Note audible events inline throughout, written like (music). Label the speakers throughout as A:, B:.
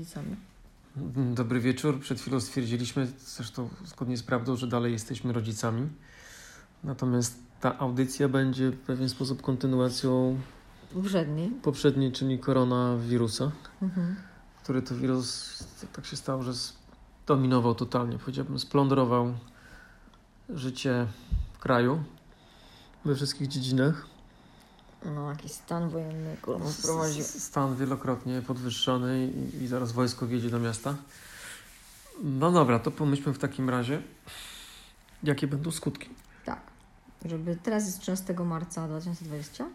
A: rodzicami.
B: Dobry wieczór. Przed chwilą stwierdziliśmy, zresztą zgodnie z prawdą, że dalej jesteśmy rodzicami. Natomiast ta audycja będzie w pewien sposób kontynuacją
A: Poprzedni.
B: poprzedniej, czyli koronawirusa,
A: Mhm.
B: który to wirus tak się stało, że dominował totalnie, powiedziałbym, splądrował życie w kraju we wszystkich dziedzinach.
A: No, jakiś stan wojenny, kurwa,
B: S-
A: wprowadził.
B: s- Stan wielokrotnie podwyższony i, i zaraz wojsko wjedzie do miasta. No dobra, to pomyślmy w takim razie, jakie będą skutki.
A: Tak. Żeby teraz jest 13 marca 2020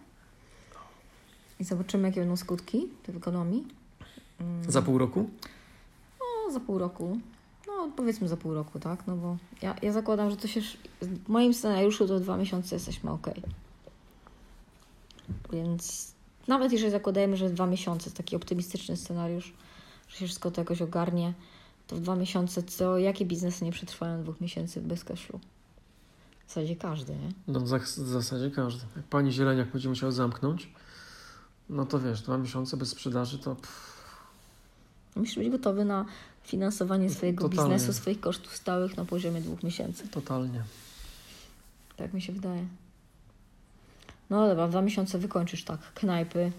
A: i zobaczymy, jakie będą skutki tej ekonomii. Mm,
B: Za pół roku?
A: No, za pół roku. No, powiedzmy za pół roku, tak? No bo ja, ja zakładam, że to się. sz- W moim scenariuszu to dwa miesiące jesteśmy ok. Więc nawet jeżeli zakładajemy, że dwa miesiące, taki optymistyczny scenariusz, że się wszystko to jakoś ogarnie, to w dwa miesiące co? Jakie biznesy nie przetrwają dwóch miesięcy bez kaszlu? W zasadzie każdy, nie?
B: No w zas- w zasadzie każdy. Jak pani Zieleniak będzie musiała zamknąć, no to wiesz, dwa miesiące bez sprzedaży to pff,
A: Musisz być gotowy na finansowanie swojego
B: Totalnie.
A: biznesu, swoich kosztów stałych na poziomie dwóch miesięcy.
B: totalnie.
A: Tak mi się wydaje. No dobra, dwa miesiące wykończysz tak. Knajpy,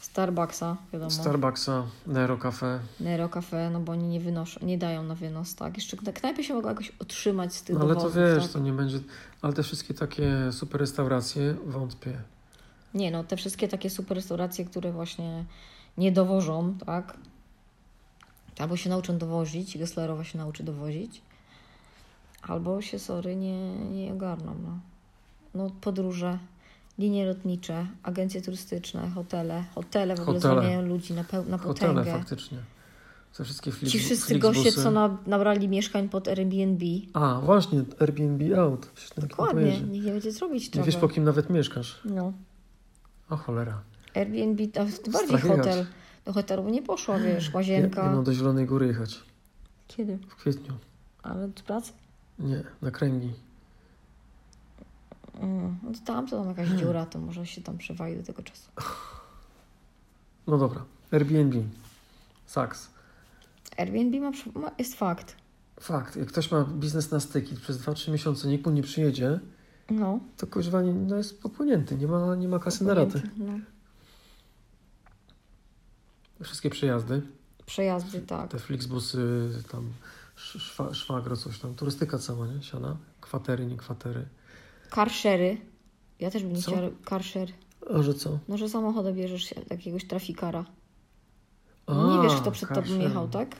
A: Starbucksa, wiadomo.
B: Starbucksa, Nero Cafe,
A: Nero Cafe, no bo oni nie wynoszą, nie dają na wynos, tak. Jeszcze kna- knajpy się mogą jakoś otrzymać z tych
B: no ale to
A: dowozów,
B: wiesz,
A: tak?
B: to nie będzie... Ale te wszystkie takie super restauracje, wątpię.
A: Nie no, te wszystkie takie super restauracje, które właśnie nie dowożą, tak. Albo się nauczą dowozić, Gesslerowa się nauczy dowozić. Albo się, sorry, nie, nie ogarną, no. No podróże, linie lotnicze, agencje turystyczne, hotele. Hotele w ogóle
B: Hotele.
A: zwalniają ludzi na, peł- na potęgę.
B: Hotele faktycznie. Te wszystkie flip,
A: Ci wszyscy
B: flixbusy.
A: goście, co na, nabrali mieszkań pod Airbnb.
B: A, właśnie, Airbnb out. Przecież nawet nie
A: Dokładnie,
B: pojedzie.
A: nikt nie będzie zrobić
B: No Nie
A: czego.
B: wiesz, po kim nawet mieszkasz.
A: No.
B: O cholera.
A: Airbnb, a tym bardziej
B: Strach jechać.
A: hotel. Do hotelu nie poszła, wiesz,
B: Ja,
A: łazienka.
B: ja mam do Zielonej Góry jechać.
A: Kiedy?
B: W kwietniu.
A: Ale do pracy?
B: Nie, na kręgi.
A: Mm, no to tam, to tam jakaś
B: Hmm.
A: dziura, to może się tam przewali do tego czasu.
B: No dobra. Airbnb. Saks.
A: Airbnb ma, przy- ma, jest fakt.
B: Fakt, jak ktoś ma biznes na styki, przez 2-3 miesiące nikt mu nie przyjedzie,
A: No.
B: to kuźwa nie- no jest popłynięty, nie ma, nie ma kasy na raty.
A: No.
B: Wszystkie przejazdy,
A: Przejazdy, tak.
B: te Flixbusy, tam sz- szwa, szwagro, coś tam, turystyka cała, nie? Siana, kwatery, nie kwatery.
A: Carshery. Ja też bym nie
B: Co?
A: chciała carsher.
B: A że co?
A: No, że samochodem bierzesz się jakiegoś trafikara. No nie wiesz, kto przed tobą
B: Karszyn.
A: jechał, tak?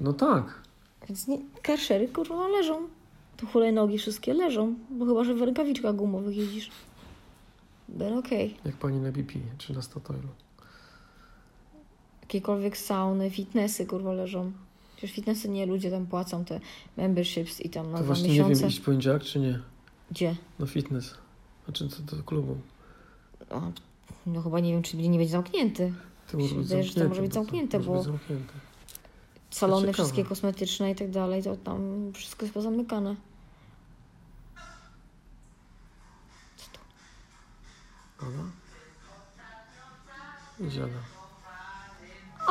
B: No tak.
A: Więc nie, karszery kurwa no, leżą. Tu hulajnogi wszystkie leżą, bo chyba, że w rękawiczkach gumowych jeździsz. But okej.
B: Jak pani na BP, czy na Statoil.
A: Jakiekolwiek sauny, fitnessy kurwa leżą. Przecież fitnessy nie, ludzie tam płacą te memberships i tam na
B: to
A: dwa
B: właśnie nie
A: miesiące.
B: wiem, iść w poniedziałek, czy nie.
A: Gdzie?
B: Na fitness. Znaczy do, do klubu.
A: O, no chyba nie wiem, czy nie będzie zamknięty.
B: To
A: Mi się
B: może być
A: wydaje, że to
B: zamknięte.
A: może być zamknięte,
B: może
A: bo-
B: być zamknięte.
A: Salony
B: ciekawe.
A: wszystkie kosmetyczne i tak dalej, to tam wszystko jest pozamykane. Co to?
B: Dobra. Idziemy.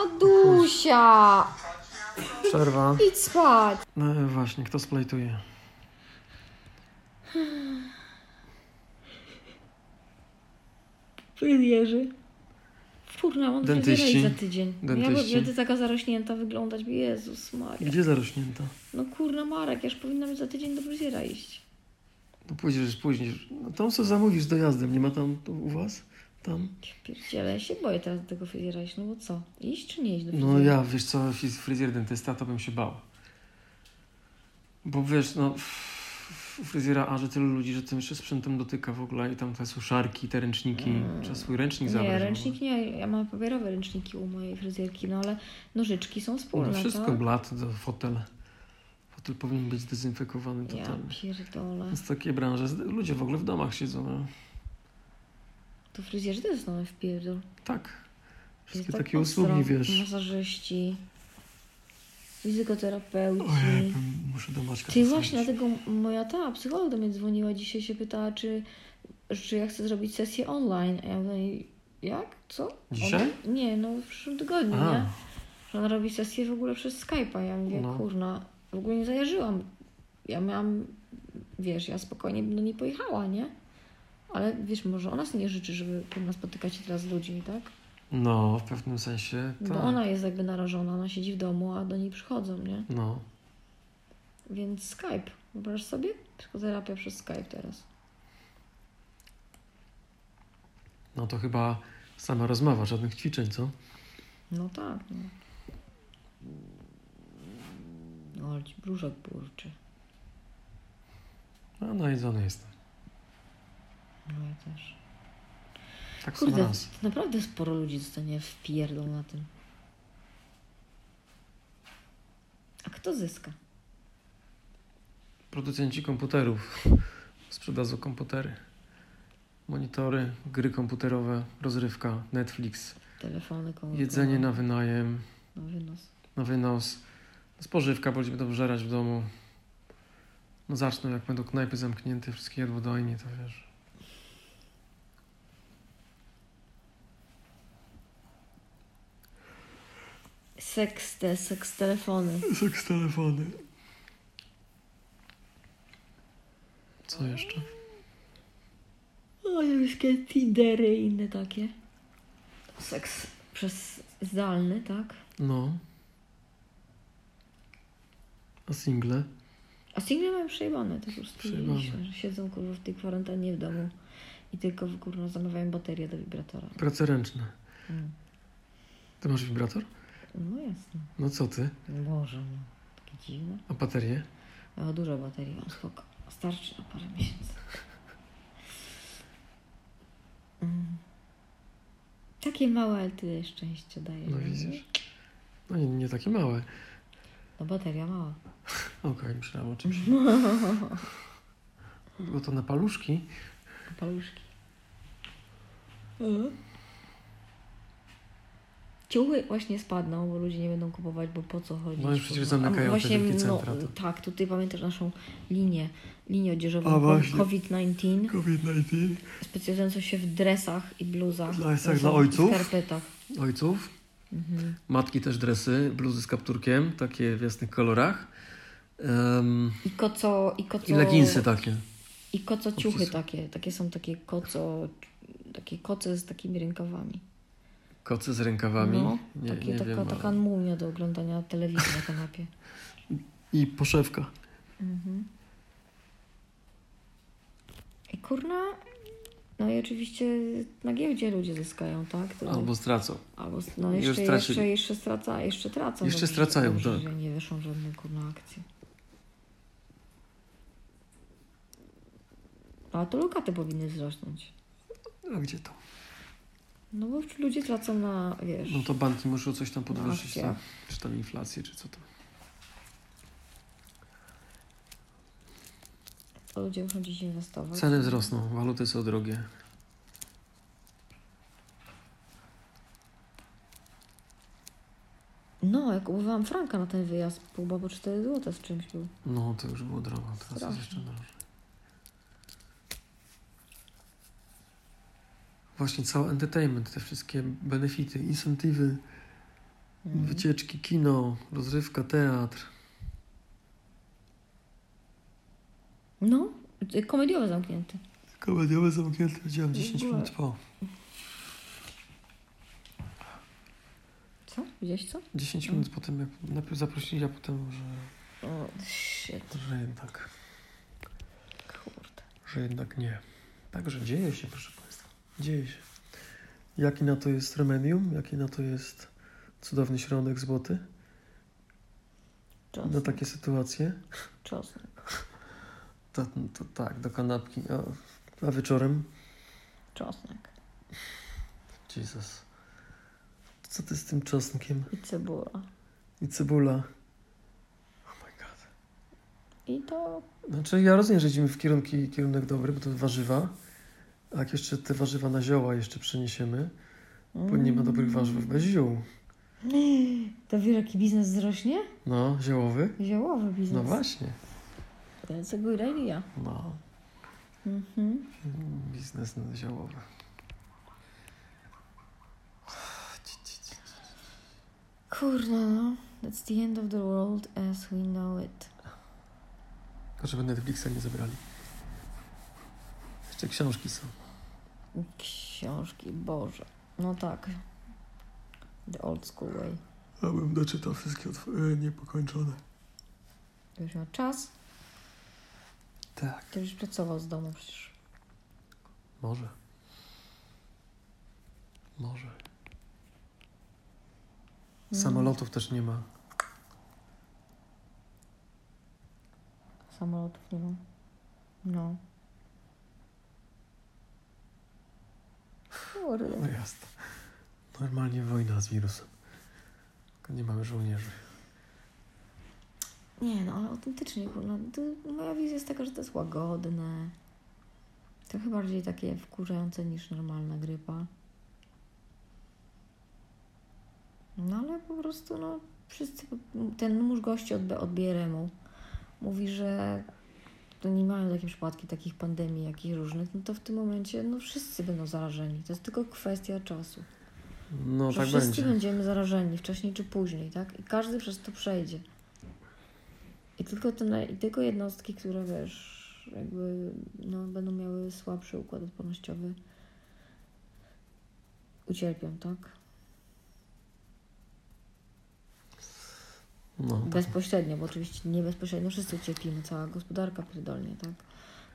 A: Adusia!
B: Przerwa.
A: Idź spać!
B: No e, właśnie, kto splajtuje?
A: Fryzjerzy. Kurna, mam
B: Dentyści.
A: fryzjerę za tydzień. No
B: Dentyści.
A: Ja będę taka zarośnięta wyglądać, bo Jezus Maria.
B: Gdzie zarośnięta?
A: No kurna Marek, ja już powinna być za tydzień do fryzjera iść.
B: No pójdziesz, później. No tam co zamówisz dojazdem, nie ma tam to u was? Tam?
A: Pierdziele, ja się boję teraz do tego fryzjera iść, no bo co? Iść czy nie iść do fryzjera?
B: No ja, wiesz co, jeśli fryzjer dentysta, to bym się bał. Bo wiesz, no f- u fryzjera aży tylu ludzi, że tym jeszcze sprzętem dotyka w ogóle i tam te suszarki, te ręczniki,
A: Mm.
B: trzeba swój ręcznik zabrać. no. w
A: Nie,
B: ogóle.
A: ręcznik nie, ja mam papierowe ręczniki u mojej fryzjerki, no ale nożyczki są wspólne,
B: No wszystko,
A: tak?
B: blat, do- fotel. Fotel powinien być zdezynfekowany
A: Ja
B: totalnie.
A: pierdolę.
B: Więc takie branże, zd- ludzie w ogóle w domach siedzą, no.
A: To fryzjerzy też są w pierdol.
B: Tak. Wszystkie
A: Jest tak
B: takie
A: ostro.
B: usługi, wiesz.
A: Masażyści, fizykoterapeuci.
B: Ojej, muszę do Maćka
A: Ty
B: zadzwonić.
A: właśnie, dlatego moja ta psycholog do mnie dzwoniła dzisiaj, się pytała, czy, czy ja chcę zrobić sesję online. A ja mówię, jak? Co?
B: Dzisiaj?
A: Ona- nie, no w przyszłym tygodniu,
B: A,
A: nie? że ona robi sesję w ogóle przez Skype'a. Ja mówię,
B: No.
A: kurna, w ogóle nie zajarzyłam. Ja miałam, wiesz, ja spokojnie bym do niej pojechała, nie? Ale wiesz, może ona sobie nie życzy, żeby kurna spotykać się teraz z ludźmi, tak?
B: No, w pewnym sensie
A: Bo
B: tak.
A: ona jest jakby narażona, ona siedzi w domu, a do niej przychodzą, nie?
B: No,
A: Więc Skype. Wyobrażasz sobie? Psychoterapia przez Skype teraz.
B: no to chyba sama rozmowa, żadnych ćwiczeń, co?
A: No tak, no. Ol, No, ci brzuszek burczy.
B: No, najedzony jestem.
A: No ja też.
B: Tak samo
A: Kurde,
B: raz.
A: to naprawdę sporo ludzi zostanie wpierdol na tym. A kto zyska?
B: Producenci komputerów (laughs) sprzedadzą komputery. Monitory, gry komputerowe, rozrywka, Netflix,
A: Telefony komórkowe.
B: jedzenie na wynajem,
A: na wynos.
B: na wynos, spożywka, bo ludzie będą żerać w domu. No zaczną, jak będą knajpy zamknięte, wszystkie jadłodajnie, to wiesz.
A: Seks te, seks telefony.
B: Seks telefony. Co jeszcze?
A: O, jakie Tindery i inne takie. Seks przez zdalny, tak?
B: No. A single?
A: A single mają przejebane to już
B: Przejebane.
A: stwierdziliśmy, że siedzą kurwa w tej kwarantannie w domu i tylko kurwa zamawiają baterię do wibratora.
B: Prace ręczne.
A: Mm.
B: Ty masz wibrator?
A: No jasne.
B: No co ty?
A: Boże, no. Takie dziwne.
B: A baterie?
A: O, dużo baterii mam, spoko. Starczy na parę miesięcy. Mm. Takie małe, ale tyle szczęścia daje.
B: No
A: nie?
B: widzisz? No nie, nie takie małe.
A: No bateria mała.
B: Okej, myślałem o (laughs) czymś. Bo to na paluszki.
A: A paluszki. Ciuchy właśnie spadną, bo ludzie nie będą kupować, bo po co chodzić.
B: No i przecież
A: kurwa. A
B: zamykają te
A: właśnie,
B: wielkie
A: no,
B: centra, to-
A: Tak, tutaj pamiętasz naszą linię, linię odzieżową
B: A,
A: ko-
B: właśnie.
A: COVID-19,
B: COVID-19.
A: specjalizującą się w dresach i bluzach.
B: Dresach
A: w
B: dla ojców?
A: skarpetach.
B: Ojców.
A: Mhm.
B: Matki też dresy, bluzy z kapturkiem, takie w jasnych kolorach. Em,
A: I koco, i koco...
B: I leginsy takie.
A: I koco ciuchy
B: Obcisłe.
A: takie. Takie są takie koco... Takie koce z takimi rękawami.
B: Koce z rękawami.
A: No,
B: nie,
A: takie,
B: nie
A: taka,
B: wiem,
A: taka
B: ale-
A: mumia do oglądania telewizji na kanapie.
B: I poszewka.
A: Mhm. I kurna, no i oczywiście na giełdzie ludzie zyskają, tak? To-
B: Albo stracą.
A: albo s- no
B: już
A: jeszcze,
B: stracili.
A: jeszcze, jeszcze, straca, jeszcze tracą.
B: Jeszcze stracają,
A: dobrze,
B: tak.
A: Że nie wyszą żadne kurna akcje. A to lokaty powinny wzrosnąć.
B: A gdzie to?
A: No bo ludzie tracą na, wiesz...
B: No to banki muszą coś tam podwyższyć.
A: akcjach.
B: Tam, czy tam inflację, czy co tam.
A: To ludzie muszą dziś inwestować.
B: Ceny wzrosną, waluty są drogie.
A: No, jak kupowałam franka na ten wyjazd, pół bo 4 zł z czymś był.
B: No to już było drogo, teraz jest
A: Strasznie.
B: jeszcze drożej. Właśnie cały entertainment, te wszystkie benefity, incentywy,
A: Mhm.
B: wycieczki, kino, rozrywka, teatr.
A: No, y, komediowe zamknięte.
B: Komediowe zamknięte, widziałem 10
A: Była-
B: minut po.
A: Co? Widziałeś co?
B: 10 minut po tym, jak najpierw zaprosili, a potem, że,
A: O, shit,
B: że jednak,
A: kurde.
B: że jednak nie. Także dzieje się, proszę Państwa, dzieje się. Jaki na to jest remedium, jaki na to jest cudowny środek złoty
A: Czosnek,
B: na takie sytuacje?
A: czosnek,
B: To, to tak, do kanapki. A, a wieczorem?
A: czosnek
B: Jesus. Co ty z tym czosnkiem?
A: i cebula.
B: I cebula. Oh my god.
A: I to (gasps)
B: Znaczy, ja rozumiem, że idziemy w kierunki, kierunek dobry, bo to warzywa. A jak jeszcze te warzywa na zioła jeszcze przeniesiemy, bo nie ma dobrych warzyw bez ziół.
A: To wiesz, jaki biznes wzrośnie?
B: No, ziołowy?
A: Ziołowy biznes.
B: No właśnie.
A: That's a good idea.
B: No,
A: Mhm.
B: biznes ziołowy. Ci, ci, ci.
A: Kurde, no. That's the end of the world as we know it.
B: Tylko żeby Netflixa nie zabrali. Jeszcze książki są.
A: Książki, Boże. No tak. The old school way.
B: Ja bym doczytał wszystkie e, niepokończone.
A: Już miał czas.
B: Tak.
A: Ty już pracował z domu przecież.
B: Może. Może.
A: Mm.
B: Samolotów też nie ma.
A: Samolotów nie mam. No. Kurde.
B: No jasne. Normalnie wojna z wirusem. Tylko nie mamy żołnierzy.
A: Nie, no ale autentycznie, kurna, to moja wizja jest taka, że to jest łagodne. Trochę bardziej takie wkurzające niż normalna grypa. No ale po prostu, no, wszyscy, ten mórz gości od, od BRM-u mówi, że to nie mają takie przypadki takich pandemii, jakich różnych, no to w tym momencie, no wszyscy będą zarażeni. To jest tylko kwestia czasu.
B: No
A: że
B: tak
A: wszyscy
B: będzie.
A: będziemy zarażeni wcześniej czy później, tak? I każdy przez to przejdzie. I tylko, te, naj- i tylko jednostki, które wiesz, jakby no, będą miały słabszy układ odpornościowy, ucierpią, tak?
B: No, tak.
A: Bezpośrednio, bo oczywiście nie bezpośrednio wszyscy ucierpimy, cała gospodarka pierdolnie, tak?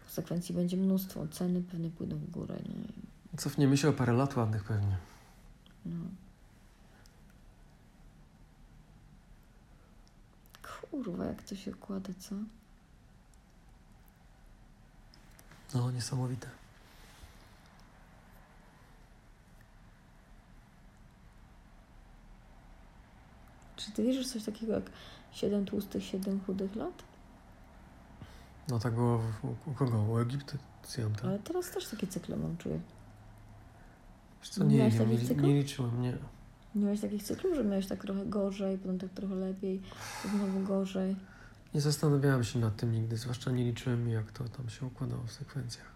A: Konsekwencji będzie mnóstwo, ceny pewnie pójdą w górę, nie?
B: Cofniemy się o parę lat ładnych pewnie.
A: No. Kurwa, jak to się układa, co?
B: No, niesamowite.
A: Czy ty wierzysz w coś takiego jak 7 tłustych, 7 chudych lat?
B: No tak było w, u, u kogo? U Egipcjan, tak?
A: Ale teraz też takie cykle mam, czuję.
B: Wiesz co, nie,
A: Miałeś
B: nie,
A: taki
B: nie,
A: cykl?
B: nie liczyłem, nie.
A: Nie miałeś takich cykli, że miałeś tak trochę gorzej, potem tak trochę lepiej, potem znowu gorzej.
B: Nie zastanawiałem się nad tym nigdy, zwłaszcza nie liczyłem, jak to tam się układało w sekwencjach.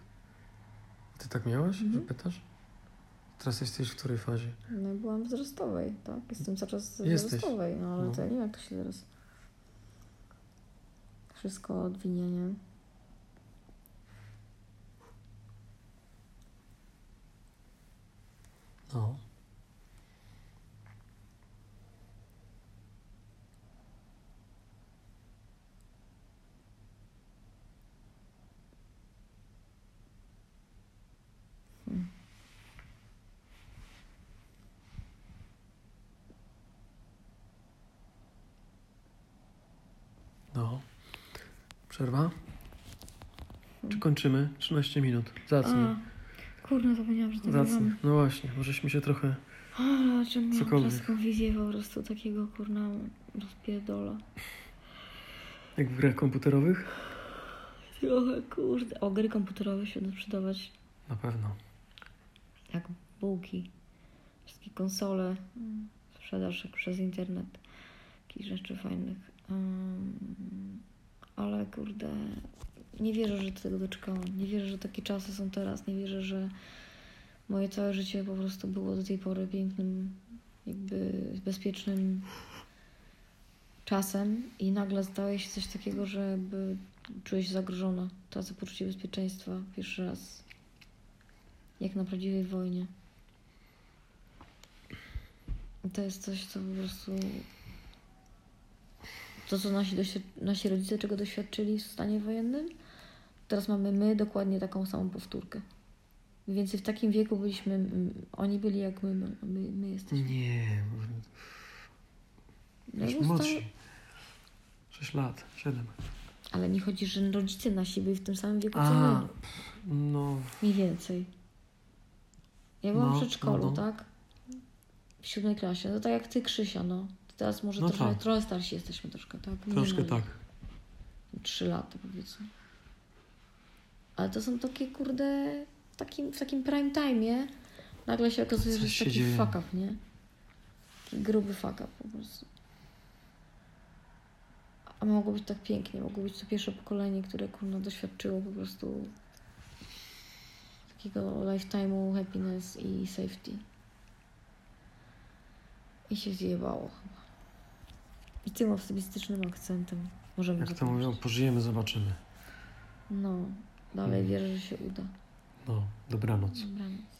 B: Ty tak miałeś,
A: Mhm.
B: że pytasz? Teraz jesteś w której fazie?
A: No i byłam wzrostowej, tak? Jestem cały czas
B: Jesteś.
A: wzrostowej, no ale
B: No.
A: to ja nie wiem, jak to się teraz... Wszystko odwinienie.
B: No. No. Przerwa? Czy kończymy? 13 minut. Zacnie.
A: A, Kurde, zapomniałam, że
B: Zacnie.
A: nagrywamy.
B: No właśnie, możeśmy się trochę
A: A, że miałam
B: Cokolwiek.
A: czeską wizję po prostu takiego kurna rozpierdola.
B: Jak w grach komputerowych?
A: Trochę kurde. O, gry komputerowe się będą sprzedawać
B: Na pewno.
A: jak bułki. Wszystkie konsole, mm, sprzedaż jak przez internet, takich rzeczy fajnych. Mm, ale kurde, nie wierzę, że do tego doczekałam. Nie wierzę, że takie czasy są teraz. Nie wierzę, że moje całe życie po prostu było do tej pory pięknym, jakby bezpiecznym czasem i nagle staje się coś takiego, że jakby czuję się zagrożona. Tracę poczucie bezpieczeństwa pierwszy raz. Jak na prawdziwej wojnie. I To jest coś, co po prostu... To, co nasi, doświad- nasi rodzice czego doświadczyli w stanie wojennym, teraz mamy my dokładnie taką samą powtórkę. Więc w takim wieku byliśmy, m, oni byli jak my, my, my, my jesteśmy.
B: Nie,
A: Ja bym w
B: już
A: stanie-
B: młodszy. 6 lat, 7.
A: Ale mi chodzi, że rodzice nasi byli w tym samym wieku co
B: A,
A: my.
B: no,
A: Mniej więcej. Ja byłam
B: No,
A: w przedszkolu,
B: no, no.
A: tak? W siódmej klasie. No tak jak ty, Krzysia, no. To Teraz może
B: No
A: trochę,
B: tak.
A: trochę starsi jesteśmy troszkę, tak?
B: troszkę
A: Minimalnie.
B: tak.
A: Trzy lata powiedzmy. Ale to są takie, kurde, w takim, w takim prime time'ie nagle się okazuje, że
B: Coś
A: jest
B: się
A: taki
B: dzieje.
A: fuck up, nie? Taki gruby fuck up po prostu. A mogło być tak pięknie, mogło być to pierwsze pokolenie, które kurno doświadczyło po prostu takiego lifetime'u happiness i safety. I się zjebało chyba. I tym optymistycznym akcentem możemy
B: Jak to
A: zakończyć.
B: mówią, pożyjemy, zobaczymy.
A: No, dalej
B: Mhm.
A: wierzę, że się uda.
B: No, dobranoc.
A: Dobranoc.